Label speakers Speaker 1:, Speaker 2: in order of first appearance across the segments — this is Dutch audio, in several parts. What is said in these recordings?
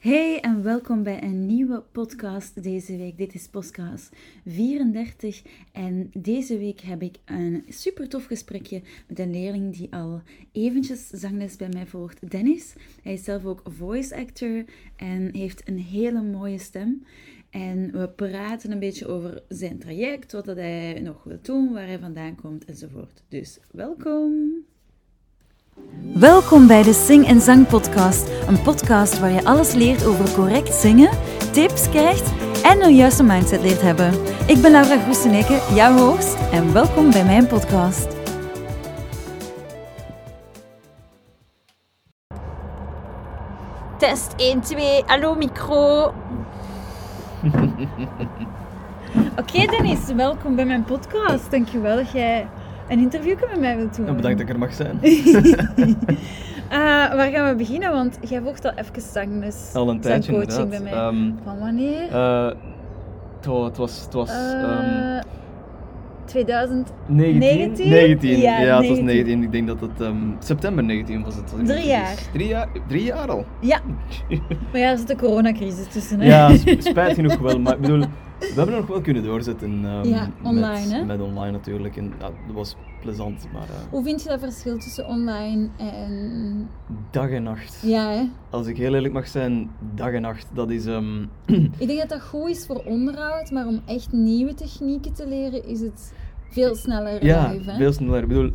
Speaker 1: Hey en welkom bij een nieuwe podcast deze week. Dit is podcast 34 en deze week heb ik een super tof gesprekje met een leerling die al eventjes zangles bij mij volgt, Dennis. Hij is zelf ook voice actor en heeft een hele mooie stem. En we praten een beetje over zijn traject, wat dat hij nog wil doen, waar hij vandaan komt enzovoort. Dus welkom! Welkom bij de Sing en Zang Podcast. Een podcast waar je alles leert over correct zingen, tips krijgt en een juiste mindset leert hebben. Ik ben Laura Groeseneke, jouw host, en welkom bij mijn podcast. Test 1, 2, hallo micro. Oké Dennis, welkom bij mijn podcast. Dankjewel dat jij een interview met mij wilt doen.
Speaker 2: Ja, Nou, bedankt dat ik er mag zijn.
Speaker 1: Eh, waar gaan we beginnen? Want jij volgt al even zangles.
Speaker 2: Al een tijdje
Speaker 1: zangcoaching
Speaker 2: inderdaad.
Speaker 1: bij mij.
Speaker 2: Ehm,
Speaker 1: Van wanneer?
Speaker 2: eh, het wa- het was, het was ehm,
Speaker 1: Eh, 2000.
Speaker 2: 19?
Speaker 1: 19?
Speaker 2: 19,
Speaker 1: Ja,
Speaker 2: Ja, het was
Speaker 1: 19.
Speaker 2: 19. Ik denk dat het ehm, september 19 was. Het, als ik
Speaker 1: Drie
Speaker 2: niet vergis.
Speaker 1: jaar.
Speaker 2: Drie jaar, drie jaar al?
Speaker 1: Ja, maar ja, er zit de coronacrisis tussen. Hè?
Speaker 2: ja, sp- spijt genoeg wel. Maar ik bedoel, we hebben nog wel kunnen doorzetten. ehm,
Speaker 1: Ja, online,
Speaker 2: met,
Speaker 1: hè?
Speaker 2: met online natuurlijk. En, ja, dat was plezant, maar eh,
Speaker 1: Hoe vind je dat verschil tussen online en.
Speaker 2: dag en nacht.
Speaker 1: Ja, hè?
Speaker 2: Als ik heel eerlijk mag zijn, dag en nacht, dat is... ehm,
Speaker 1: ik denk dat dat goed is voor onderhoud, maar om echt nieuwe technieken te leren is het veel sneller
Speaker 2: Ja,
Speaker 1: live. Hè?
Speaker 2: veel sneller. Ik bedoel,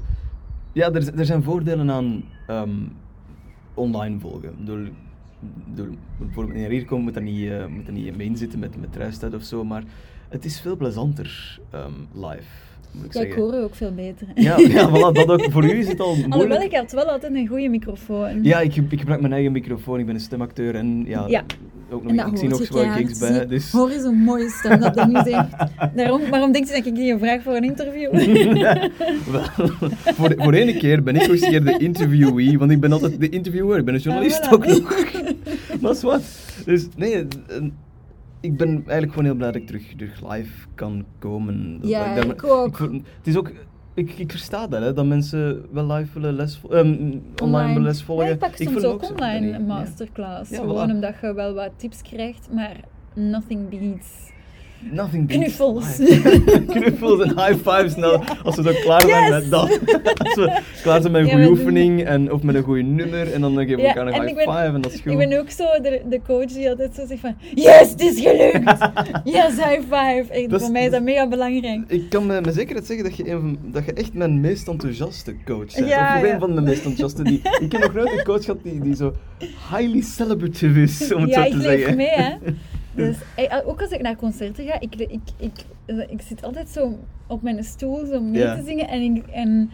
Speaker 2: ja, er, z- er zijn voordelen aan ehm, online volgen. Ik bedoel, ik bedoel, bijvoorbeeld in hier komen moet er niet, eh, moet er niet mee inzitten met, met reistijd of zo, maar het is veel plezanter ehm, live, moet ik
Speaker 1: Ja, ik
Speaker 2: zeggen.
Speaker 1: hoor je ook veel beter.
Speaker 2: Ja, ja, voilà, dat ook. Voor u is het al moeilijk.
Speaker 1: Alhoewel, ik had wel altijd een goede microfoon.
Speaker 2: Ja, ik, ik gebruik mijn eigen microfoon, ik ben een stemacteur en ja,
Speaker 1: Ja.
Speaker 2: ook nog,
Speaker 1: En dat
Speaker 2: ik zie
Speaker 1: hoort
Speaker 2: nog
Speaker 1: je
Speaker 2: zwaar
Speaker 1: keihard.
Speaker 2: gigs
Speaker 1: Zie
Speaker 2: bij,
Speaker 1: je?
Speaker 2: dus...
Speaker 1: Hoor eens een mooie stem dat Dennis heeft. Daarom, waarom denkt je dat ik die een vraag voor een interview?
Speaker 2: Wel, voor, de, voor ene keer ben ik nog eens keer de interviewee, want ik ben altijd de interviewer, ik ben een journalist
Speaker 1: Ah, voilà.
Speaker 2: ook nog. maar is wat. Dus nee, eh, ik ben eigenlijk gewoon heel blij dat ik terug, terug live kan komen. Dat-
Speaker 1: Ja,
Speaker 2: dat daar-
Speaker 1: ik ook.
Speaker 2: ver- het is ook, ik, ik versta dat, hè, dat mensen wel live willen les, vo- ehm, online willen les volgen.
Speaker 1: Ja, ik pak soms
Speaker 2: voel
Speaker 1: ook
Speaker 2: zo,
Speaker 1: online
Speaker 2: nee,
Speaker 1: een
Speaker 2: ja.
Speaker 1: masterclass.
Speaker 2: Ja,
Speaker 1: Gewoon
Speaker 2: voilà.
Speaker 1: omdat je wel wat tips krijgt, maar nothing beats.
Speaker 2: Nothing beats
Speaker 1: Knuffels.
Speaker 2: live. Knuffels en high fives. Nou, als we dan klaar zijn met dat. Als we klaar zijn met een
Speaker 1: Ja,
Speaker 2: goede
Speaker 1: we doen
Speaker 2: oefening en, of met een goede nummer. En dan geven we
Speaker 1: Ja,
Speaker 2: elkaar
Speaker 1: en
Speaker 2: een
Speaker 1: ik
Speaker 2: high
Speaker 1: ben-
Speaker 2: five en dat is goed.
Speaker 1: Ik ben ook zo de, de coach die altijd zo zegt van... Yes, het is gelukt! yes, high five! Echt,
Speaker 2: Dat is-
Speaker 1: voor mij is dat mega belangrijk.
Speaker 2: Ik kan me met zekerheid zeggen dat je, een van- dat je echt mijn meest enthousiaste coach bent.
Speaker 1: Ja,
Speaker 2: of nog
Speaker 1: ja.
Speaker 2: een van mijn meest enthousiaste. Die, ik heb nog nooit een coach gehad die, die zo highly celebrative is, om het
Speaker 1: ja,
Speaker 2: zo
Speaker 1: ik
Speaker 2: te
Speaker 1: leef
Speaker 2: zeggen.
Speaker 1: mee, hè. Dus, eh, ook als ik naar concerten ga, ik, ik, ik, eh, ik zit altijd zo op mijn stoel zo mee
Speaker 2: Ja.
Speaker 1: te zingen. En, ik, en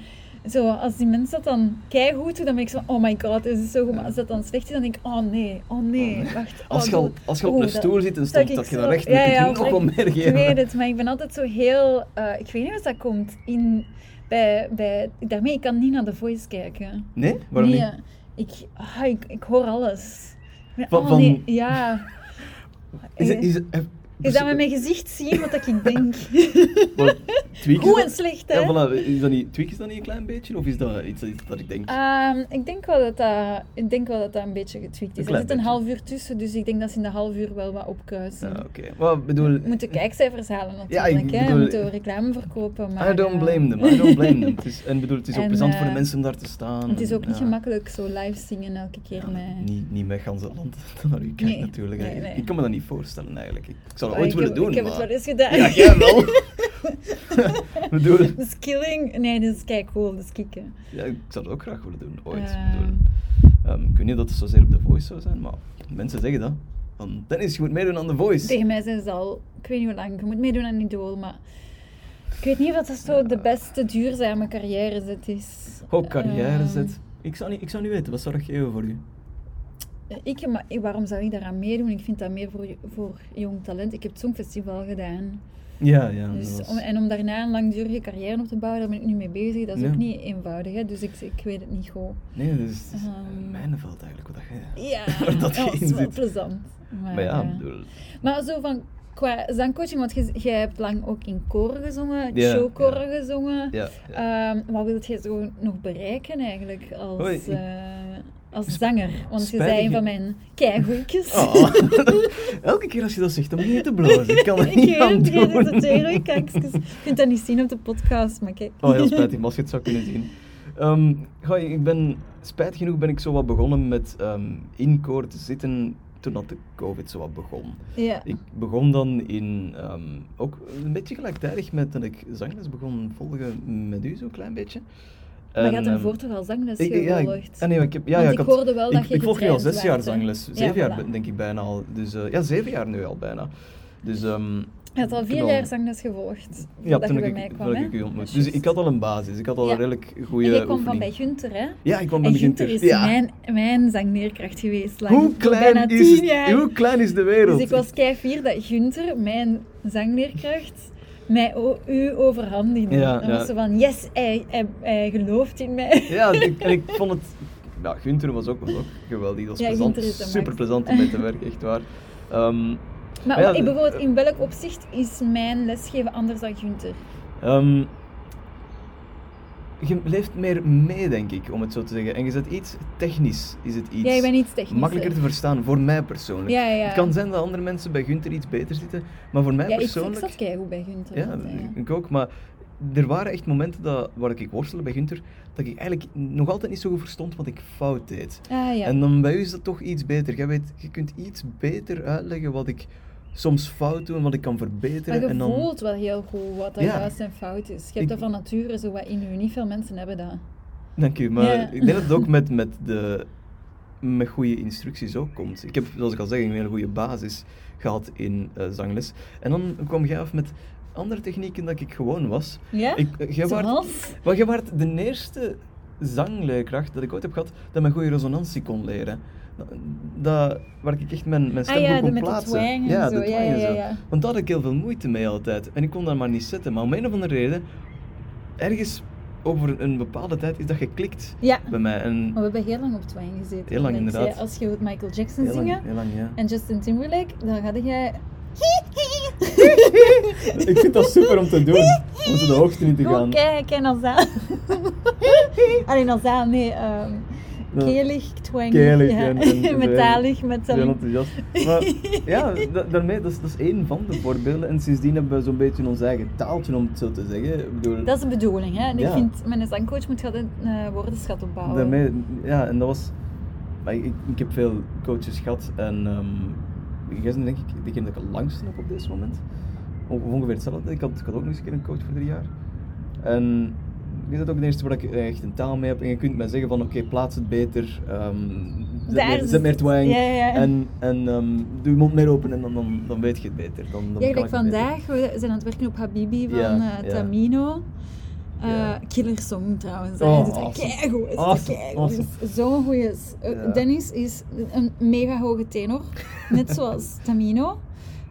Speaker 1: zo, als die mensen dat dan keigoed doen, dan ben ik zo, oh my god, dit is zo goed. Maar als dat dan slecht is, dan denk ik, oh nee, oh nee,
Speaker 2: Oh nee.
Speaker 1: wacht.
Speaker 2: Als
Speaker 1: oh,
Speaker 2: je, al,
Speaker 1: dat-
Speaker 2: als je op
Speaker 1: oeh,
Speaker 2: een
Speaker 1: dat-
Speaker 2: stoel zit en
Speaker 1: dat
Speaker 2: stond
Speaker 1: ik
Speaker 2: dat je
Speaker 1: zo-
Speaker 2: dan recht,
Speaker 1: ja,
Speaker 2: dan kun je
Speaker 1: ja,
Speaker 2: nog
Speaker 1: of
Speaker 2: wel meer
Speaker 1: Ik
Speaker 2: geven.
Speaker 1: weet het, maar ik ben altijd zo heel... eh, ik weet niet wat dat komt. In, bij, bij, daarmee, ik kan niet naar The Voice kijken.
Speaker 2: Nee? Waarom
Speaker 1: nee,
Speaker 2: niet?
Speaker 1: eh, Ik, ah, ik, ik hoor alles. Ik ben-
Speaker 2: Van-
Speaker 1: oh,
Speaker 2: van-
Speaker 1: nee, ja.
Speaker 2: Is, het- eh, dus, is,
Speaker 1: Is dat met mijn gezicht zien wat dat ik denk? Goed
Speaker 2: Goed
Speaker 1: en slecht, hè?
Speaker 2: Ja, voilà. Is dat niet, tweak is dat niet een klein beetje? Of is dat iets dat, dat ik denk?
Speaker 1: Ehm, ik, denk wel dat dat, ik denk wel dat dat een beetje getweakt
Speaker 2: Een
Speaker 1: is.
Speaker 2: klein
Speaker 1: er zit een
Speaker 2: beetje.
Speaker 1: half uur tussen, dus ik denk dat ze in de half uur wel wat opkuisen.
Speaker 2: Ja, oké. Maar ik bedoel...
Speaker 1: We moeten kijkcijfers halen
Speaker 2: Ja, ik
Speaker 1: natuurlijk, hè. We
Speaker 2: bedoel-
Speaker 1: moeten reclame verkopen, maar...
Speaker 2: I don't
Speaker 1: eh,
Speaker 2: blame them, I don't blame them. Het is, en ik bedoel, het is ook
Speaker 1: En,
Speaker 2: plezant voor
Speaker 1: eh,
Speaker 2: de mensen om daar te staan.
Speaker 1: Het is
Speaker 2: en,
Speaker 1: ook niet
Speaker 2: ja.
Speaker 1: gemakkelijk zo live zingen elke keer
Speaker 2: Ja,
Speaker 1: met...
Speaker 2: Niet, niet met gans het land naar u kijkt
Speaker 1: Nee,
Speaker 2: natuurlijk. hè.
Speaker 1: nee, nee.
Speaker 2: Ik kan me dat niet voorstellen eigenlijk. Ik, ik zou dat
Speaker 1: Oh,
Speaker 2: ooit
Speaker 1: ik
Speaker 2: willen
Speaker 1: heb,
Speaker 2: doen,
Speaker 1: Ik heb
Speaker 2: maar...
Speaker 1: het wel eens gedaan.
Speaker 2: Ja, jij wel. Ik bedoel,
Speaker 1: Dat is killing. Nee, dat is kijk cool, dat is kicken.
Speaker 2: ja, ik zou dat ook graag willen doen,
Speaker 1: Ehm.
Speaker 2: ooit. Ik bedoel, ehm, ik weet niet of dat zozeer op The Voice zou zijn, maar mensen zeggen dat. Van, Dennis, je moet meedoen aan The Voice.
Speaker 1: Tegen mij zijn ze al, ik weet niet hoe lang, je moet meedoen aan Idool, maar ik weet niet of dat zo de beste duurzame carrièrezet is.
Speaker 2: Goh, carrière
Speaker 1: Ehm,
Speaker 2: zet. Ik zou, niet, ik zou niet weten, wat zou dat geven voor u?
Speaker 1: Ehm, Ik, maar ik- waarom zou ik daaraan meedoen? Ik vind dat meer voor, voor jong talent. Ik heb het Songfestival gedaan.
Speaker 2: Ja, ja.
Speaker 1: Dus
Speaker 2: dat was-
Speaker 1: om, en om daarna een langdurige carrière op te bouwen, daar ben ik nu mee bezig. Dat is
Speaker 2: Ja.
Speaker 1: ook niet eenvoudig, hè? dus ik, ik weet het niet goed.
Speaker 2: Nee, dus- dat is, dat is
Speaker 1: Ehm.
Speaker 2: mijnenveld eigenlijk, wat dat je...
Speaker 1: Ja,
Speaker 2: Waar dat je
Speaker 1: dat
Speaker 2: in
Speaker 1: is wel
Speaker 2: zit.
Speaker 1: plezant. Maar,
Speaker 2: Maar ja,
Speaker 1: eh,
Speaker 2: ik bedoel...
Speaker 1: Maar zo van qua zangcoaching, want jij- jij hebt lang ook in koren gezongen,
Speaker 2: Ja,
Speaker 1: showkoren gezongen.
Speaker 2: Ja, ja.
Speaker 1: Ehm, wat wil jij zo nog bereiken eigenlijk als
Speaker 2: Hoi, ik-
Speaker 1: eh, als zanger, want je
Speaker 2: spijtige-
Speaker 1: zei een van mijn keigoedjes.
Speaker 2: Oh. Elke keer als je dat zegt, dan begin je te blazen. Ik kan er
Speaker 1: ik
Speaker 2: niet
Speaker 1: weet
Speaker 2: aan
Speaker 1: het,
Speaker 2: doen.
Speaker 1: dit is het weer, ik kijk, excuse. Je kunt dat niet zien op de podcast, maar kijk.
Speaker 2: Oh, heel spijtig, maar als je het zou kunnen zien. Ehm, goh, ik ben, spijtig genoeg ben ik zo wat begonnen met ehm in koor te zitten toen dat de COVID zo wat begon.
Speaker 1: Ja.
Speaker 2: Ik begon dan in, ehm, ook een beetje gelijktijdig met dat ik zangles begon volgen met u, zo'n klein beetje.
Speaker 1: Maar je had
Speaker 2: En,
Speaker 1: hem
Speaker 2: ehm,
Speaker 1: voor toch al zangles
Speaker 2: ik- ja, ik,
Speaker 1: gevolgd?
Speaker 2: ah, nee, ik, heb, ja,
Speaker 1: Want
Speaker 2: ja,
Speaker 1: ik
Speaker 2: had-
Speaker 1: hoorde wel
Speaker 2: ik,
Speaker 1: dat je
Speaker 2: Ik volg nu al
Speaker 1: getraind
Speaker 2: zes jaar
Speaker 1: werd, hè?
Speaker 2: zangles.
Speaker 1: Ja,
Speaker 2: Zeven jaar
Speaker 1: voilà.
Speaker 2: ben- denk ik bijna al. Dus, eh, ja, zeven jaar nu al bijna. Dus, ehm,
Speaker 1: Je had al
Speaker 2: ik
Speaker 1: vier
Speaker 2: heb
Speaker 1: jaar zangles gevolgd,
Speaker 2: ja,
Speaker 1: voordat
Speaker 2: toen
Speaker 1: je bij
Speaker 2: ik,
Speaker 1: mij
Speaker 2: ik-
Speaker 1: kwam,
Speaker 2: voordat
Speaker 1: hè?
Speaker 2: ik u ontmoet.
Speaker 1: Dat
Speaker 2: Dus
Speaker 1: is
Speaker 2: ik had al een basis. Ik had al
Speaker 1: Ja.
Speaker 2: een redelijk
Speaker 1: juist.
Speaker 2: goede
Speaker 1: En jij kwam van
Speaker 2: oefening.
Speaker 1: bij Gunther, hè?
Speaker 2: Ja, ik kwam bij
Speaker 1: En
Speaker 2: mijn
Speaker 1: Gunther
Speaker 2: Ginter.
Speaker 1: is
Speaker 2: Ja.
Speaker 1: mijn, mijn zangleerkracht geweest, lang,
Speaker 2: Hoe
Speaker 1: voor bijna
Speaker 2: klein,
Speaker 1: tien
Speaker 2: is,
Speaker 1: jaar.
Speaker 2: het- hoe klein is de wereld?
Speaker 1: Dus ik was kei fier dat Gunther, mijn zangleerkracht, mij o- u overhandigde.
Speaker 2: Ja,
Speaker 1: dan
Speaker 2: ja.
Speaker 1: was ze van, yes, hij, hij, hij gelooft in mij.
Speaker 2: Ja, ik, en ik vond het... Ja, Gunther was ook, was ook geweldig. Dat was
Speaker 1: Ja,
Speaker 2: plezant.
Speaker 1: Gunther is de max.
Speaker 2: Super plezant om mee te werken, echt waar. Ehm,
Speaker 1: Maar
Speaker 2: Ja,
Speaker 1: wat-
Speaker 2: de-
Speaker 1: bijvoorbeeld, in welk opzicht is mijn lesgeven anders dan Gunther?
Speaker 2: Ehm, je leeft meer mee, denk ik, om het zo te zeggen. En je zet iets technisch, is het iets
Speaker 1: Ja, ik ben iets technisch.
Speaker 2: makkelijker te verstaan, voor mij persoonlijk.
Speaker 1: Ja, ja.
Speaker 2: Het kan zijn dat andere mensen bij Gunther iets beter zitten, maar voor mij
Speaker 1: ja, ik, ik
Speaker 2: persoonlijk...
Speaker 1: zat keigoed bij Gunther. eh,
Speaker 2: ja,
Speaker 1: altijd, ja.
Speaker 2: ik ook, maar er waren echt momenten dat, waar ik worstelde bij Gunther, dat ik eigenlijk nog altijd niet zo goed verstond wat ik fout deed.
Speaker 1: Ah, ja.
Speaker 2: En dan bij u is dat toch iets beter. Jij weet, je kunt iets beter uitleggen wat ik soms fout doe en wat ik kan verbeteren.
Speaker 1: maar je
Speaker 2: en dan...
Speaker 1: voelt wel heel goed wat er
Speaker 2: Ja.
Speaker 1: juist en fout is. Je hebt
Speaker 2: Ik-
Speaker 1: dat van nature zo wat in je. Niet veel mensen hebben dat.
Speaker 2: Dank u, maar
Speaker 1: Ja.
Speaker 2: ik denk dat het ook met, met, de, met goede instructies ook komt. Ik heb, zoals ik al zei, een hele goede basis gehad in eh, zangles. En dan kwam jij af met andere technieken dat ik gewoon was.
Speaker 1: Ja?
Speaker 2: Ik, eh, jij, waart,
Speaker 1: Zoals?
Speaker 2: maar jij waart de eerste zangleerkracht dat ik ooit heb gehad dat mij goede resonantie kon leren. Dat, dat- waar ik echt mijn, mijn stem
Speaker 1: Ah ja,
Speaker 2: goed
Speaker 1: de-
Speaker 2: kon
Speaker 1: met de
Speaker 2: plaatsen.
Speaker 1: twang en
Speaker 2: ja,
Speaker 1: zo.
Speaker 2: de
Speaker 1: Ja,
Speaker 2: twang en
Speaker 1: ja,
Speaker 2: zo.
Speaker 1: ja.
Speaker 2: Want daar had ik heel veel moeite mee altijd. En ik kon daar maar niet zitten. Maar om een of andere reden, ergens over een bepaalde tijd is dat geklikt
Speaker 1: Ja.
Speaker 2: bij mij. En
Speaker 1: Maar we hebben heel lang op Twijn gezeten.
Speaker 2: Heel lang,
Speaker 1: Alex, hè.
Speaker 2: inderdaad.
Speaker 1: Als je wilt Michael Jackson
Speaker 2: heel
Speaker 1: zingen
Speaker 2: lang, heel lang, ja.
Speaker 1: en Justin Timberlake, dan ga jij...
Speaker 2: Ik vind dat super om te doen. Om zo de hoogte in te gaan.
Speaker 1: Oké, ik ken als dat. Alleen als dat, nee. ehm
Speaker 2: Ja.
Speaker 1: kelig, twang,
Speaker 2: Kelig
Speaker 1: ja.
Speaker 2: en- en- en-
Speaker 1: metalig, met
Speaker 2: Ik ben
Speaker 1: zo'n...
Speaker 2: enthousiast. Maar ja, da- daarmee, dat is, dat is één van de voorbeelden. En sindsdien hebben we zo'n beetje ons eigen taaltje, om het zo te zeggen. Ik bedoel,
Speaker 1: Dat is de bedoeling, hè. En ik
Speaker 2: Ja.
Speaker 1: vind, mijn zangcoach moet altijd een eh, woordenschat opbouwen.
Speaker 2: Daarmee, ja, en dat was. Maar ik, ik heb veel coaches gehad en ehm jij bent denk ik degene dat ik het langste heb op dit moment. Of ongeveer hetzelfde. Ik had, ik had ook nog eens een keer een coach voor drie jaar. En je bent ook de eerste waar ik echt een taal mee heb. En je kunt mij zeggen van oké, plaats het beter. ehm zet,
Speaker 1: Daar
Speaker 2: meer,
Speaker 1: is
Speaker 2: zet meer
Speaker 1: het.
Speaker 2: twang.
Speaker 1: Ja, ja.
Speaker 2: En, en ehm, doe je mond meer open en dan, dan, dan weet je het beter. Dan, dan
Speaker 1: Ja,
Speaker 2: kan
Speaker 1: gelijk
Speaker 2: ik het beter.
Speaker 1: vandaag, we zijn aan het werken op Habibi van
Speaker 2: Ja,
Speaker 1: eh,
Speaker 2: ja.
Speaker 1: Tamino. Eh,
Speaker 2: Ja.
Speaker 1: Killer song trouwens.
Speaker 2: Oh,
Speaker 1: Hij doet dat
Speaker 2: awesome.
Speaker 1: keigoed. hij doet dat
Speaker 2: Awesome,
Speaker 1: keigoed.
Speaker 2: awesome.
Speaker 1: Het is Zo'n goeie. s- eh,
Speaker 2: Ja.
Speaker 1: Dennis is een mega hoge tenor. Net zoals Tamino.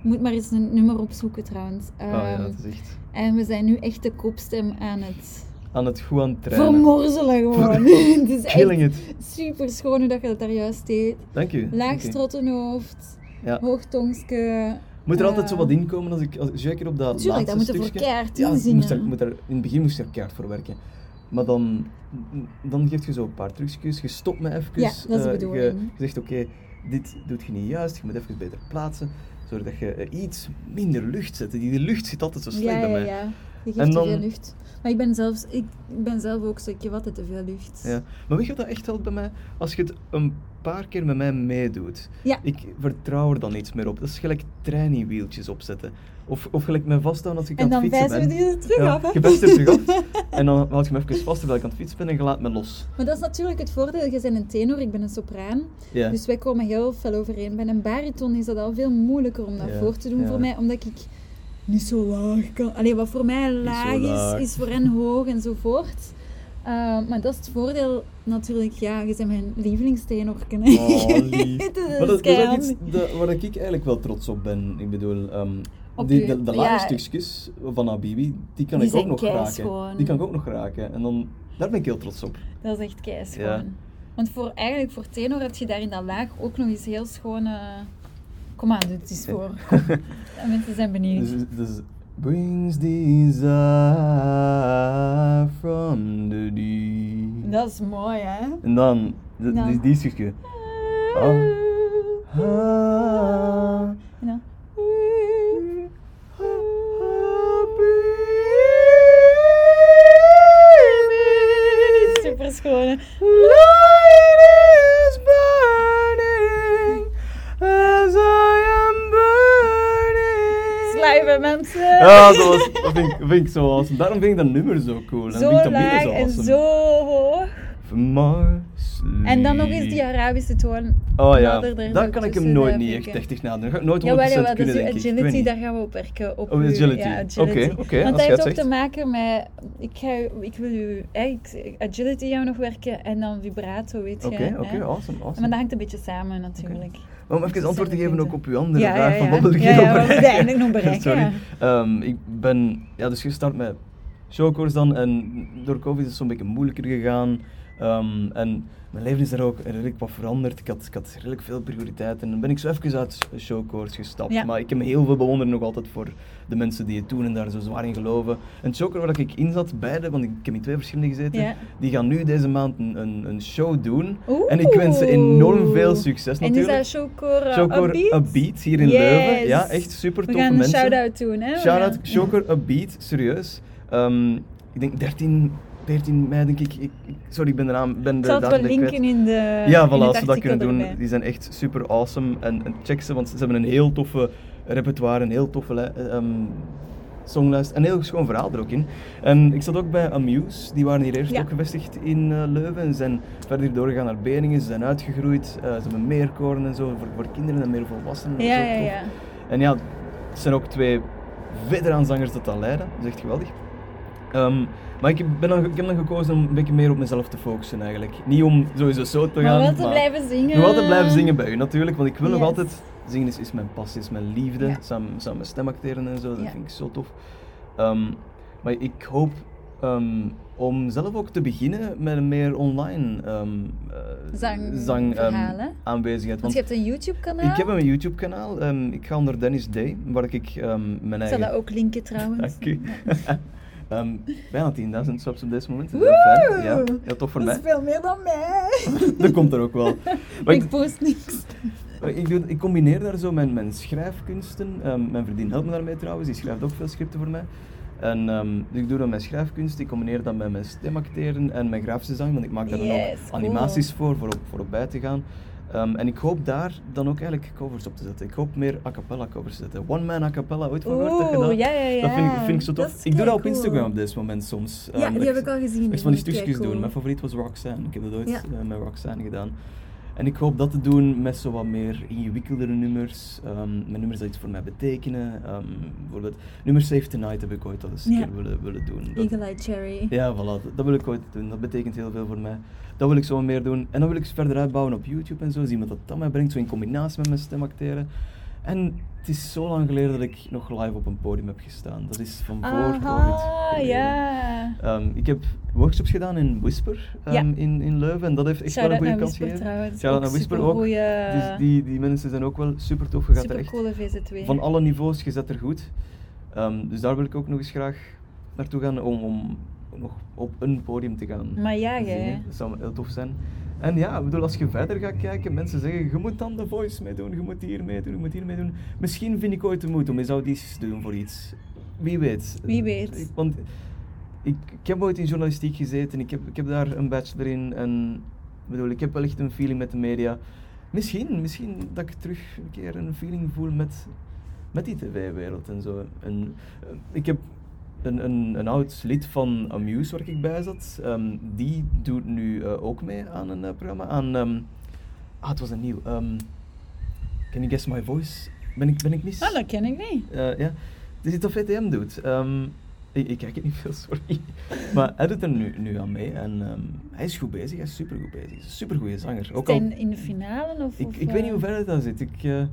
Speaker 1: Moet maar eens een nummer opzoeken trouwens.
Speaker 2: Oh ja,
Speaker 1: Ehm,
Speaker 2: het is echt
Speaker 1: En we zijn nu echt de kopstem aan het
Speaker 2: aan het goed aan het trainen.
Speaker 1: vermorzelen gewoon. het is
Speaker 2: Killing
Speaker 1: echt
Speaker 2: it.
Speaker 1: super schoon hoe dat je dat daar juist deed.
Speaker 2: Dank u.
Speaker 1: Laag
Speaker 2: Dank u.
Speaker 1: strottenhoofd,
Speaker 2: Ja.
Speaker 1: hoog tongske.
Speaker 2: Moet er
Speaker 1: Eh,
Speaker 2: altijd zo wat inkomen als ik, als, zeker op dat
Speaker 1: Tuurlijk,
Speaker 2: laatste
Speaker 1: dat moet er voor
Speaker 2: stukje.
Speaker 1: keihard
Speaker 2: ja,
Speaker 1: in
Speaker 2: ik moest daar,
Speaker 1: zingen.
Speaker 2: ik moet daar, in het begin moest je er keihard voor werken. Maar dan, dan geef je zo een paar trucjes, je stopt me even.
Speaker 1: Ja, dat is de
Speaker 2: eh, je- je,
Speaker 1: bedoeling.
Speaker 2: zegt oké, dit doet je niet juist, je moet even beter plaatsen. Zorg dat je eh, iets minder lucht zet. Die die lucht zit altijd zo slecht
Speaker 1: Ja,
Speaker 2: bij
Speaker 1: ja,
Speaker 2: mij.
Speaker 1: ja. Je
Speaker 2: En
Speaker 1: geeft te
Speaker 2: dan-
Speaker 1: veel lucht. Maar ik ben, zelfs, ik, ik ben zelf ook zo, ik geef altijd te veel lucht.
Speaker 2: Ja. Maar weet je wat dat echt helpt bij mij? Als je het een paar keer met mij meedoet.
Speaker 1: Ja.
Speaker 2: Ik vertrouw er dan iets meer op. Dat is gelijk trainiewieltjes opzetten. Of, of gelijk mij vasthouden als ik
Speaker 1: En
Speaker 2: aan het
Speaker 1: dan
Speaker 2: fietsen ben.
Speaker 1: wijzen we die er terug
Speaker 2: Ja,
Speaker 1: af. hè.
Speaker 2: je bent er terug af. En dan houd je me even vast terwijl ik aan het fietsen ben en je laat me los.
Speaker 1: Maar dat is natuurlijk het voordeel. Je bent een tenor, ik ben een sopraan.
Speaker 2: Ja.
Speaker 1: Dus wij komen heel fel overeen. Bij een bariton is dat al veel moeilijker om dat
Speaker 2: Ja,
Speaker 1: voor te doen
Speaker 2: ja.
Speaker 1: voor mij, omdat ik niet zo laag kan. Allee, wat voor mij laag
Speaker 2: zo
Speaker 1: is,
Speaker 2: laag.
Speaker 1: is voor hen hoog enzovoort. Eh, maar dat is het voordeel natuurlijk. Ja, je bent mijn lievelingstenor.
Speaker 2: Oh, lief.
Speaker 1: Het
Speaker 2: Maar dat, dat is ook
Speaker 1: keihandig.
Speaker 2: iets dat- waar ik eigenlijk wel trots op ben. Ik bedoel, ehm,
Speaker 1: Op
Speaker 2: die,
Speaker 1: je-
Speaker 2: de, de lage
Speaker 1: ja.
Speaker 2: stukjes van Habibi, die kan
Speaker 1: Die
Speaker 2: ik ook
Speaker 1: zijn
Speaker 2: nog
Speaker 1: keischoon.
Speaker 2: raken. Die kan ik ook nog raken. En dan, daar ben ik heel trots op.
Speaker 1: Dat is echt keischoon.
Speaker 2: Ja.
Speaker 1: Want voor, eigenlijk voor tenor heb je daar in dat laag ook nog eens heel schone... Kom aan, doe het eens voor. Kom. En Mensen zijn benieuwd.
Speaker 2: Dus, dus, brings desire from the deep.
Speaker 1: Dat is mooi, hè?
Speaker 2: En dan Dat,
Speaker 1: Ja.
Speaker 2: Die, die stukje. Ah. Ah.
Speaker 1: En dan- Super schoon.
Speaker 2: Light is burning as I am burning.
Speaker 1: Slijmen mensen.
Speaker 2: Ja, dat, was, dat vind, ik, vind ik zo awesome. Daarom vind ik dat nummer zo cool. En
Speaker 1: Zo
Speaker 2: vind ik dat
Speaker 1: laag
Speaker 2: binnen
Speaker 1: en
Speaker 2: awesome.
Speaker 1: zo hoog.
Speaker 2: From Mars
Speaker 1: En dan nog eens die
Speaker 2: sleep.
Speaker 1: Arabische toon.
Speaker 2: Oh ja,
Speaker 1: nader er
Speaker 2: daar
Speaker 1: zo
Speaker 2: kan ik hem
Speaker 1: tussen,
Speaker 2: nooit
Speaker 1: eh,
Speaker 2: niet echt
Speaker 1: prikken.
Speaker 2: echt nadenken. Dat ga ik nooit 100%
Speaker 1: Jawel, jawel, dat
Speaker 2: kunnen,
Speaker 1: is die
Speaker 2: denk ik. Ik weet
Speaker 1: agility,
Speaker 2: niet.
Speaker 1: daar gaan we op werken. Op
Speaker 2: Oh,
Speaker 1: uw-
Speaker 2: agility.
Speaker 1: Ja, agility.
Speaker 2: Oké, oké,
Speaker 1: Want dat
Speaker 2: als jij
Speaker 1: heeft ook
Speaker 2: het
Speaker 1: te
Speaker 2: zegt.
Speaker 1: maken met... Ik, ga, u- ik wil u... hè, ik- agility gaan we nog werken en dan vibrato, weet je.
Speaker 2: Oké,
Speaker 1: hè.
Speaker 2: oké, awesome,
Speaker 1: Maar
Speaker 2: awesome.
Speaker 1: dat hangt een beetje samen natuurlijk.
Speaker 2: Maar om even antwoord te geven ook op uw andere
Speaker 1: Ja, ja,
Speaker 2: vraag, van
Speaker 1: ja.
Speaker 2: wat wil ik
Speaker 1: Ja,
Speaker 2: hier
Speaker 1: ja,
Speaker 2: nog
Speaker 1: wat wil je
Speaker 2: bereiken?
Speaker 1: eigenlijk nog bereiken,
Speaker 2: Sorry.
Speaker 1: ja.
Speaker 2: Ehm, ik ben ja, dus gestart met showcourse dan en door COVID is het zo'n beetje moeilijker gegaan. Ehm, en mijn leven is daar ook redelijk wat veranderd. Ik had, ik had redelijk veel prioriteiten. En dan ben ik zo even uit showcourse gestapt.
Speaker 1: Ja.
Speaker 2: Maar ik heb heel veel bewondering nog altijd voor de mensen die het doen en daar zo zwaar in geloven. En het showcourse waar ik in zat, beide, want ik heb in twee verschillende gezeten,
Speaker 1: Ja.
Speaker 2: die gaan nu deze maand een, een, een show doen.
Speaker 1: Oeh.
Speaker 2: En ik wens ze enorm veel succes
Speaker 1: En is
Speaker 2: natuurlijk.
Speaker 1: dat Showcore
Speaker 2: Showcore
Speaker 1: Upbeat?
Speaker 2: Upbeat hier in
Speaker 1: eh, Yes.
Speaker 2: Leuven. Ja, echt super
Speaker 1: We
Speaker 2: toffe
Speaker 1: gaan een
Speaker 2: mensen.
Speaker 1: shout-out doen, hè? We
Speaker 2: Shout-out
Speaker 1: gaan-
Speaker 2: Showcore Upbeat, serieus. Ehm, ik denk 13, 13 mei, denk ik. ik. ik- Sorry, ik ben de naam. Ben
Speaker 1: Ik
Speaker 2: de
Speaker 1: zal het wel
Speaker 2: datum ben ik
Speaker 1: linken in de
Speaker 2: kwijt. Ja,
Speaker 1: eh, in
Speaker 2: voilà,
Speaker 1: het
Speaker 2: als we dat kunnen
Speaker 1: artikel
Speaker 2: doen.
Speaker 1: erbij.
Speaker 2: Die zijn echt super awesome. En, en check ze, want ze hebben een heel toffe repertoire, een heel toffe li- eh, ehm, songlijst. En een heel schoon verhaal er ook in. En ik zat ook bij Amuse, die waren hier eerst
Speaker 1: Ja.
Speaker 2: ook gevestigd in eh, Leuven. En zijn verder doorgegaan naar Beringen, ze zijn uitgegroeid. eh, ze hebben meer koren en zo, voor, voor kinderen en meer volwassenen.
Speaker 1: Ja,
Speaker 2: Dat is
Speaker 1: ja,
Speaker 2: ook tof.
Speaker 1: ja.
Speaker 2: En ja, het zijn ook twee veteraanzangers dat dat leiden. Dat is echt geweldig. Ehm, maar ik, ben dan, ge- ik heb dan gekozen om een beetje meer op mezelf te focussen eigenlijk. Niet om sowieso zo te gaan,
Speaker 1: Maar wel te blijven zingen.
Speaker 2: nog altijd blijven zingen bij u natuurlijk. Want ik wil nog
Speaker 1: Yes.
Speaker 2: altijd... Zingen is, is mijn passie, is mijn liefde.
Speaker 1: Ja.
Speaker 2: Samen, samen met stemacteren en zo, dat
Speaker 1: Ja.
Speaker 2: vind ik zo tof. Ehm, maar ik hoop ehm, om zelf ook te beginnen met een meer online ehm, eh,
Speaker 1: Zang-
Speaker 2: ehm,
Speaker 1: verhaal, hè?
Speaker 2: aanwezigheid.
Speaker 1: Want
Speaker 2: Want
Speaker 1: je hebt een YouTube-kanaal.
Speaker 2: ik heb een YouTube-kanaal. ehm, ik ga onder Dennis Day, waar ik ehm, mijn
Speaker 1: Ik zal
Speaker 2: eigen...
Speaker 1: dat ook linken trouwens.
Speaker 2: Dank u. Ehm, bijna 10.000 subs op dit moment. Dat is
Speaker 1: Woe!
Speaker 2: wel fijn. Ja, ja, tof voor
Speaker 1: dat
Speaker 2: mij.
Speaker 1: is veel meer dan mij.
Speaker 2: Dat komt er ook wel. Maar ik,
Speaker 1: ik post niks.
Speaker 2: maar Eh, ik, doe, ik combineer daar zo mijn, mijn schrijfkunsten. Ehm, mijn vriendin helpt me daarmee trouwens. Die schrijft ook veel scripten voor mij. En ehm, dus ik doe dan mijn schrijfkunst, ik combineer dat met mijn stemacteren en mijn grafisch design, want ik maak daar dan
Speaker 1: Yes,
Speaker 2: ook
Speaker 1: cool.
Speaker 2: animaties voor, voor op, voor op bij te gaan. Ehm, en ik hoop daar dan ook eigenlijk covers op te zetten. Ik hoop meer a cappella covers te zetten. One man a cappella, ooit van gehoord? Dat je dat-
Speaker 1: Oeh, ja, ja, ja.
Speaker 2: Dat vind ik, vind ik zo
Speaker 1: Dat
Speaker 2: tof.
Speaker 1: is
Speaker 2: Ik doe dat op
Speaker 1: keicool.
Speaker 2: Instagram op dit moment soms.
Speaker 1: Ja,
Speaker 2: Ehm,
Speaker 1: die
Speaker 2: dat
Speaker 1: heb ik al gezien.
Speaker 2: Echt van die
Speaker 1: vind ik
Speaker 2: stukjes doen.
Speaker 1: keicool.
Speaker 2: Mijn favoriet was Roxanne. Ik heb dat ooit
Speaker 1: Ja.
Speaker 2: eh, met Roxanne gedaan. En ik hoop dat te doen met zo wat meer ingewikkeldere nummers. ehm, met nummers dat iets voor mij betekenen. Ehm, bijvoorbeeld, nummer Save Tonight heb ik ooit al eens een
Speaker 1: Ja.
Speaker 2: keer willen, willen doen. Dat-
Speaker 1: Eagle Eye Cherry.
Speaker 2: ja, voilà. Dat, dat wil ik ooit doen. Dat betekent heel veel voor mij. Dat wil ik zo wat meer doen. En dan wil ik verder uitbouwen op YouTube en zo. Zien wat dat dan mij brengt. Zo in combinatie met mijn stem acteren. En het is zo lang geleden dat ik nog live op een podium heb gestaan. Dat is van voor COVID.
Speaker 1: Aha,
Speaker 2: geleden.
Speaker 1: ja.
Speaker 2: Ehm, ik heb workshops gedaan in Whisper ehm,
Speaker 1: Ja.
Speaker 2: in, in Leuven. En dat heeft echt wel
Speaker 1: Shout-out
Speaker 2: een goede
Speaker 1: naar
Speaker 2: kans
Speaker 1: Whisper
Speaker 2: gegeven.
Speaker 1: trouwens.
Speaker 2: Shout-out naar Whisper ook.
Speaker 1: supergoeie-
Speaker 2: Dus die, die mensen zijn ook wel super tof. Je gaat er echt
Speaker 1: Supercoole VZ2.
Speaker 2: van alle niveaus, je zet er goed. Ehm, dus daar wil ik ook nog eens graag naartoe gaan om, om nog op een podium te gaan.
Speaker 1: Maar ja,
Speaker 2: zingen.
Speaker 1: hè.
Speaker 2: Dat zou heel tof zijn. En ja, ik bedoel, als je verder gaat kijken, mensen zeggen, je moet dan de voice mee doen, je moet hier mee doen, je moet hier mee doen. Misschien vind ik ooit de moed om eens audities te doen voor iets. Wie weet.
Speaker 1: Wie weet.
Speaker 2: Ik- want ik, ik heb ooit in journalistiek gezeten, ik heb, ik heb daar een bachelor in en ik bedoel, ik heb wel echt een feeling met de media. Misschien, misschien dat ik terug een keer een feeling voel met, met die tv-wereld en zo. En, eh, ik heb een, een, een oud lid van Amuse waar ik bij zat, ehm, die doet nu eh, ook mee aan een eh, programma. Aan, ehm, ah, het was een nieuw. ehm, can you guess my voice? Ben ik, ben ik mis?
Speaker 1: Ah, dat ken ik niet.
Speaker 2: Eh, ja. Het is iets dat VTM doet. Ehm, ik, ik kijk het niet veel, sorry. Maar hij doet er nu, nu aan mee en ehm, hij is goed bezig, hij is supergoed bezig. Hij is een supergoeie zanger. Ook al,
Speaker 1: Zijn in de finale of...
Speaker 2: ik,
Speaker 1: of,
Speaker 2: ik weet niet
Speaker 1: eh,
Speaker 2: hoe ver het daar zit. Ik, eh, eh,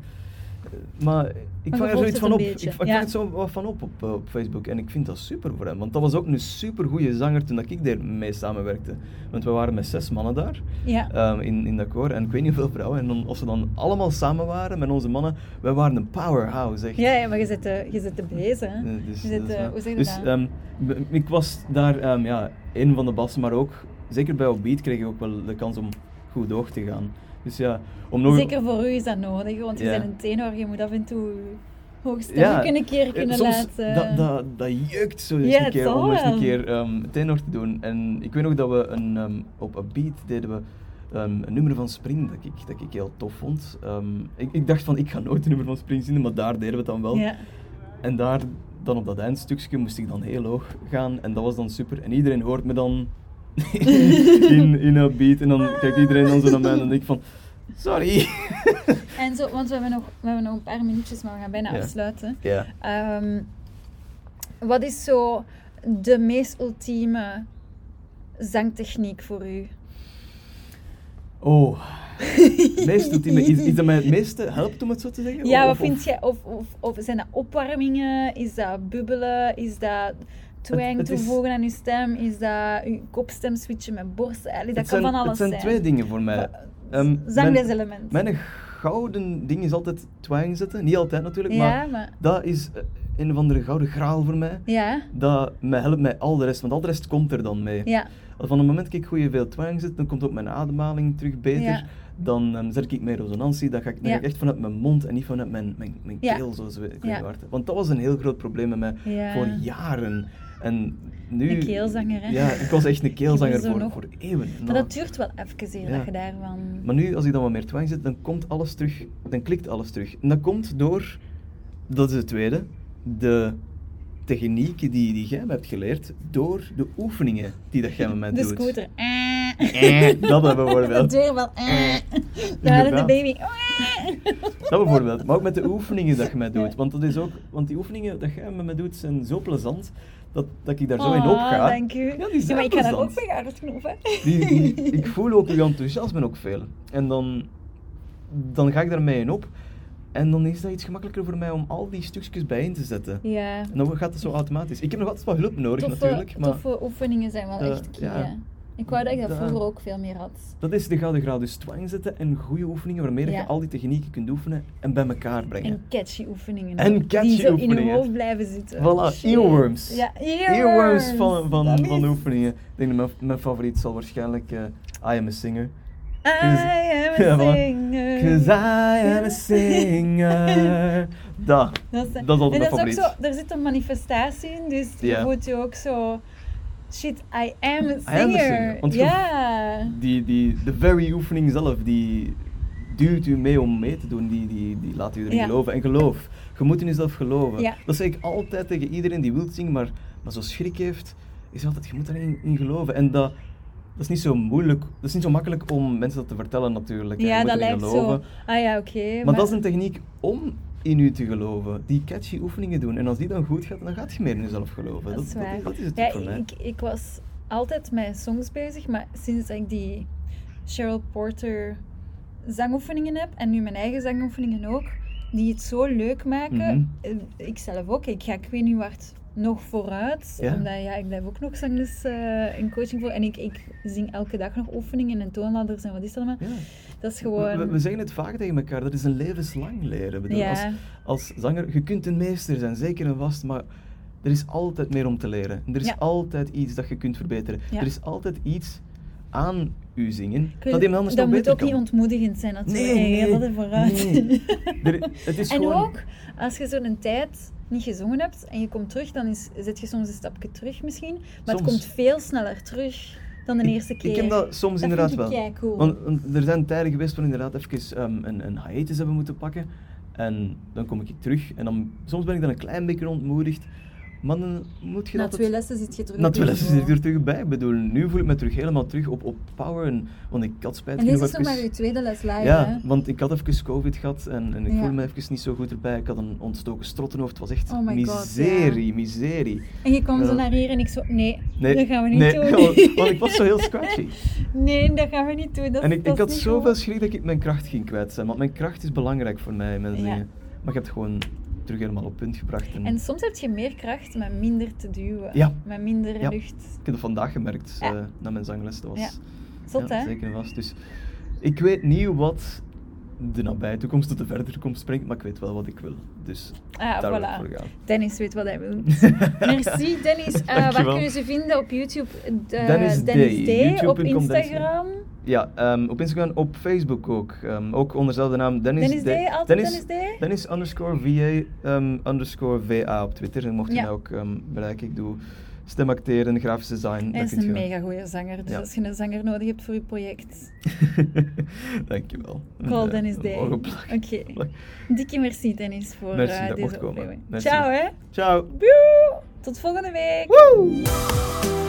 Speaker 2: maar ik
Speaker 1: Maar
Speaker 2: vang
Speaker 1: je
Speaker 2: er
Speaker 1: volgt het
Speaker 2: zoiets van
Speaker 1: een
Speaker 2: op. Ik,
Speaker 1: beetje,
Speaker 2: ik vang
Speaker 1: ja.
Speaker 2: er zo wat van op op, eh, op Facebook en ik vind dat super voor hem. Want dat was ook een supergoeie zanger toen dat ik daarmee samenwerkte. Want we waren met zes mannen daar.
Speaker 1: Ja.
Speaker 2: Ehm, in, in dat koor. En ik weet niet hoeveel vrouwen. En dan, of ze dan allemaal samen waren met onze mannen. Wij waren een powerhouse, echt.
Speaker 1: Ja, ja, maar je zit, eh, je zit te bezen, hè?
Speaker 2: Eh, Dus,
Speaker 1: je
Speaker 2: dat
Speaker 1: zit,
Speaker 2: is
Speaker 1: eh,
Speaker 2: waar.
Speaker 1: hoe zeg je
Speaker 2: Dus,
Speaker 1: dat?
Speaker 2: ehm, b- ik was daar ehm ja, een van de bassen, maar ook zeker bij Beat kreeg ik ook wel de kans om goed door te gaan. Dus ja, om nog...
Speaker 1: Zeker voor u is dat nodig, want je
Speaker 2: Ja.
Speaker 1: bent een tenor, je moet af en toe
Speaker 2: Ja,
Speaker 1: hoogstemmig kunnen een keer
Speaker 2: eh,
Speaker 1: kunnen
Speaker 2: soms,
Speaker 1: laten.
Speaker 2: Dat, dat, dat jeukt zo eens
Speaker 1: Ja,
Speaker 2: een
Speaker 1: het
Speaker 2: keer
Speaker 1: zal
Speaker 2: om eens
Speaker 1: wel.
Speaker 2: een keer ehm tenor te doen. En ik weet nog dat we een, ehm, op een beat deden we ehm, een nummer van Spring dat ik, dat ik heel tof vond. Ehm, ik, ik dacht van ik ga nooit een nummer van Spring zingen, maar daar deden we het dan wel.
Speaker 1: Ja.
Speaker 2: En daar dan op dat eindstukje moest ik dan heel hoog gaan en dat was dan super. En iedereen hoort me dan in, in een beat en dan kijkt iedereen dan zo naar mij en dan denk ik van sorry.
Speaker 1: En zo, want we hebben, nog, we hebben nog een paar minuutjes, maar we gaan bijna
Speaker 2: Ja.
Speaker 1: afsluiten.
Speaker 2: Ja.
Speaker 1: Ehm, wat is zo de meest ultieme zangtechniek voor u?
Speaker 2: Oh. Het meest ultieme, is, is dat mij het meeste helpt om het zo te zeggen?
Speaker 1: Ja,
Speaker 2: Of-
Speaker 1: wat
Speaker 2: of-
Speaker 1: vind jij? Of, of, of zijn dat opwarmingen? Is dat bubbelen? Is dat twang
Speaker 2: het is-
Speaker 1: toevoegen aan je stem? Is dat je kopstem switchen met borsten? Allee, dat
Speaker 2: het
Speaker 1: kan
Speaker 2: zijn,
Speaker 1: van alles
Speaker 2: Het zijn twee dingen voor mij.
Speaker 1: Wa-
Speaker 2: Ehm, mijn,
Speaker 1: Zangdeselement.
Speaker 2: mijn gouden ding is altijd twang zetten. Niet altijd natuurlijk,
Speaker 1: ja,
Speaker 2: maar
Speaker 1: maar...
Speaker 2: dat is eh, een of andere gouden graal voor mij.
Speaker 1: Ja,
Speaker 2: Dat mij helpt met al de rest, want al de rest komt er dan mee.
Speaker 1: ja.
Speaker 2: Van het moment dat ik goede veel twang zet, dan komt ook mijn ademhaling terug beter.
Speaker 1: Ja.
Speaker 2: Dan ehm, zet ik meer resonantie. Dat ga ik,
Speaker 1: Ja.
Speaker 2: dan ga ik echt vanuit mijn mond en niet vanuit mijn, mijn, mijn
Speaker 1: Ja.
Speaker 2: keel, zoals we ik weet
Speaker 1: Ja.
Speaker 2: niet waar het- Want dat was een heel groot probleem met mij
Speaker 1: Ja.
Speaker 2: voor jaren. En nu...
Speaker 1: Een keelzanger, hè?
Speaker 2: Ja, ik was echt een keelzanger
Speaker 1: Ik ben zo
Speaker 2: voor,
Speaker 1: nog-
Speaker 2: voor eeuwen.
Speaker 1: Maar dat duurt wel even eer
Speaker 2: Ja.
Speaker 1: dat je daarvan...
Speaker 2: Maar nu, als ik dan wat meer twang zet, dan komt alles terug. Dan klikt alles terug. En dat komt door... Dat is het tweede. De technieken die, die jij me hebt geleerd, door de oefeningen die dat jij met mij
Speaker 1: de
Speaker 2: doet.
Speaker 1: scooter.
Speaker 2: Eh, dat dan bijvoorbeeld.
Speaker 1: De deur wel. eh. Daar de
Speaker 2: Inderdaad.
Speaker 1: baby. eh.
Speaker 2: Dat bijvoorbeeld, maar ook met de oefeningen dat je mij doet.
Speaker 1: Ja.
Speaker 2: Want, dat is ook, want die oefeningen dat jij met mij doet zijn zo plezant dat, dat ik daar zo in
Speaker 1: Oh,
Speaker 2: op ga.
Speaker 1: dank u.
Speaker 2: Ja, die
Speaker 1: Ja,
Speaker 2: zijn
Speaker 1: maar ik ga daar ook
Speaker 2: plezant.
Speaker 1: bij hard knopen.
Speaker 2: Die, die, ik voel ook uw enthousiasme ook veel. En dan, dan ga ik daarmee in op. En dan is dat iets gemakkelijker voor mij om al die stukjes bijeen te zetten.
Speaker 1: Ja.
Speaker 2: En dan gaat het zo automatisch. Ik heb nog altijd wat hulp nodig
Speaker 1: Toffe,
Speaker 2: natuurlijk. Maar
Speaker 1: toffe oefeningen zijn wel
Speaker 2: Eh,
Speaker 1: echt key,
Speaker 2: ja.
Speaker 1: hè. Ik wou dat ik dat
Speaker 2: Ja.
Speaker 1: vroeger ook veel meer had.
Speaker 2: dat is de gouden graad. Dus twang zetten en goede oefeningen waarmee
Speaker 1: Ja.
Speaker 2: je al die technieken kunt oefenen en bij elkaar brengen.
Speaker 1: En catchy oefeningen.
Speaker 2: En
Speaker 1: ook,
Speaker 2: catchy
Speaker 1: Die zo in je
Speaker 2: oefeningen.
Speaker 1: hoofd blijven zitten.
Speaker 2: Voilà,
Speaker 1: eh, Shit.
Speaker 2: earworms.
Speaker 1: Ja, earworms.
Speaker 2: Earworms van,
Speaker 1: Dat
Speaker 2: van,
Speaker 1: is-
Speaker 2: van de oefeningen. Ik denk dat mijn, mijn favoriet zal waarschijnlijk eh, I Am A Singer.
Speaker 1: I am a
Speaker 2: Dus- Ja, voilà.
Speaker 1: singer.
Speaker 2: Cause I am a singer. Dat.
Speaker 1: Dat is,
Speaker 2: Dat is altijd
Speaker 1: en
Speaker 2: mijn
Speaker 1: dat is
Speaker 2: favoriet.
Speaker 1: ook zo, er zit een manifestatie in, dus je
Speaker 2: Ja.
Speaker 1: voelt je ook zo... Shit, I am a
Speaker 2: singer,
Speaker 1: singer.
Speaker 2: want je-
Speaker 1: ja.
Speaker 2: Die, die, de very oefening zelf, die duwt u mee om mee te doen. Die, die, die laat u erin
Speaker 1: Ja.
Speaker 2: geloven. En geloof. Je moet in jezelf geloven.
Speaker 1: Ja.
Speaker 2: Dat zeg ik altijd tegen iedereen die wil zingen, maar, maar zo schrik heeft. Is altijd, je moet daarin in geloven. En dat, dat is niet zo moeilijk. Dat is niet zo makkelijk om mensen dat te vertellen natuurlijk. hè. Je
Speaker 1: Ja,
Speaker 2: moet
Speaker 1: dat
Speaker 2: erin
Speaker 1: lijkt
Speaker 2: geloven.
Speaker 1: zo... Ah ja, oké.
Speaker 2: Maar, dat is een techniek om in u te geloven. Die catchy oefeningen doen. En als die dan goed gaat, dan gaat je meer in jezelf geloven.
Speaker 1: Dat is waar.
Speaker 2: dat is het
Speaker 1: Ja,
Speaker 2: voor mij.
Speaker 1: ik, ik was altijd met songs bezig, maar sinds dat ik die Cheryl Porter zangoefeningen heb en nu mijn eigen zangoefeningen ook, die het zo leuk maken,
Speaker 2: Mhm.
Speaker 1: eh, ik zelf ook, ik ga ik weet niet wat nog vooruit,
Speaker 2: Ja.
Speaker 1: omdat ja, ik blijf ook nog zangles eh in coaching voor en ik, ik zing elke dag nog oefeningen en toonladders en wat is dat allemaal.
Speaker 2: Ja.
Speaker 1: Dat is
Speaker 2: We-
Speaker 1: gewoon...
Speaker 2: We, we zeggen het vaak tegen elkaar, dat is een levenslang leren. Ik Bedoel,
Speaker 1: Ja.
Speaker 2: als, als zanger, je kunt een meester zijn, zeker en vast, maar er is altijd meer om te leren. En Er is
Speaker 1: Ja.
Speaker 2: altijd iets dat je kunt verbeteren.
Speaker 1: Ja.
Speaker 2: Er is altijd iets aan u zingen
Speaker 1: Ik weet-
Speaker 2: dat iemand anders
Speaker 1: dat
Speaker 2: nog
Speaker 1: moet
Speaker 2: beter
Speaker 1: ook
Speaker 2: kan.
Speaker 1: niet ontmoedigend zijn natuurlijk.
Speaker 2: Nee,
Speaker 1: Je gaat
Speaker 2: nee,
Speaker 1: altijd vooruit.
Speaker 2: nee. Er- het is
Speaker 1: en
Speaker 2: gewoon-
Speaker 1: ook, als je zo'n tijd niet gezongen hebt en je komt terug, dan is, zet je soms een stapje terug misschien. Maar het
Speaker 2: Soms.
Speaker 1: komt veel sneller terug dan de
Speaker 2: Ik-
Speaker 1: eerste keer.
Speaker 2: Ik heb dat soms
Speaker 1: vind
Speaker 2: inderdaad
Speaker 1: ik
Speaker 2: wel.
Speaker 1: keicool.
Speaker 2: Want, want er zijn tijden geweest waar inderdaad even ehm, een, een hiatus hebben moeten pakken. En dan kom ik terug. En dan, soms ben ik dan een klein beetje ontmoedigd. Maar dan moet je
Speaker 1: Na
Speaker 2: dat...
Speaker 1: twee lessen zit je terug.
Speaker 2: Na
Speaker 1: op
Speaker 2: twee
Speaker 1: je
Speaker 2: lessen
Speaker 1: niveau.
Speaker 2: zit ik er terug bij. Ik bedoel, nu voel ik me terug helemaal terug op, op power. En, want ik had spijt
Speaker 1: En dit
Speaker 2: genoeg
Speaker 1: is nog maar je
Speaker 2: even-
Speaker 1: tweede les live,
Speaker 2: Ja,
Speaker 1: hè?
Speaker 2: want ik had even COVID gehad en, en ik
Speaker 1: Ja.
Speaker 2: voelde me even niet zo goed erbij. Ik had een ontstoken strottenhoofd. Het was echt
Speaker 1: Oh my god,
Speaker 2: miserie, miserie. Eh,
Speaker 1: En je kwam zo
Speaker 2: Ja.
Speaker 1: naar hier en ik zo, nee,
Speaker 2: Nee,
Speaker 1: dat gaan we niet
Speaker 2: nee,
Speaker 1: doen.
Speaker 2: want- want ik was zo heel squatchy.
Speaker 1: Nee, dat gaan we niet doen. Dat,
Speaker 2: en ik,
Speaker 1: dat
Speaker 2: ik
Speaker 1: is
Speaker 2: had
Speaker 1: niet
Speaker 2: zoveel
Speaker 1: goed.
Speaker 2: schrik dat ik mijn kracht ging kwijt zijn. Want mijn kracht is belangrijk voor mij, mensen.
Speaker 1: Ja.
Speaker 2: dingen. Maar je hebt gewoon terug helemaal op punt gebracht. En
Speaker 1: En soms heb je meer kracht met minder te duwen.
Speaker 2: Ja.
Speaker 1: Met minder
Speaker 2: Ja.
Speaker 1: lucht.
Speaker 2: Ik heb dat vandaag gemerkt
Speaker 1: Ja.
Speaker 2: eh, na mijn zangles. Dat was
Speaker 1: Ja. Zot,
Speaker 2: ja,
Speaker 1: hè?
Speaker 2: zeker en vast. Dus ik weet niet wat de nabije toekomst tot de verdere toekomst brengt, maar ik weet wel wat ik wil. Dus
Speaker 1: Ah,
Speaker 2: daar wil ik
Speaker 1: voilà.
Speaker 2: voor gaan.
Speaker 1: Dennis weet wat hij wil. Merci Dennis. Eh, waar
Speaker 2: Dankjewel.
Speaker 1: kunnen ze vinden op YouTube? De-
Speaker 2: Dennis D.
Speaker 1: Dennis D. Op
Speaker 2: YouTube.com Dennis D.
Speaker 1: Instagram.
Speaker 2: Ja, ehm, op Instagram, op Facebook ook. Ehm, ook onder dezelfde naam Dennis,
Speaker 1: Dennis
Speaker 2: De-
Speaker 1: D, altijd
Speaker 2: Dennis,
Speaker 1: Dennis D?
Speaker 2: Dennis underscore VA ehm, underscore VA op Twitter. En mocht je
Speaker 1: Ja.
Speaker 2: mij ook ehm, bereiken, ik doe stemacteren, grafisch design.
Speaker 1: Hij
Speaker 2: dat
Speaker 1: is
Speaker 2: kunt
Speaker 1: een
Speaker 2: je-
Speaker 1: mega goede zanger. Dus
Speaker 2: Ja.
Speaker 1: als je een zanger nodig hebt voor je project.
Speaker 2: Dankjewel. eh,
Speaker 1: Call
Speaker 2: Ja,
Speaker 1: Dennis
Speaker 2: een
Speaker 1: Day.
Speaker 2: hoge plak.
Speaker 1: Oké.
Speaker 2: Plak.
Speaker 1: Dikke merci Dennis voor
Speaker 2: Merci
Speaker 1: eh,
Speaker 2: dat
Speaker 1: deze
Speaker 2: mocht komen.
Speaker 1: opname.
Speaker 2: Merci.
Speaker 1: Ciao hè.
Speaker 2: Ciao.
Speaker 1: Boe. Tot volgende week.
Speaker 2: Woe!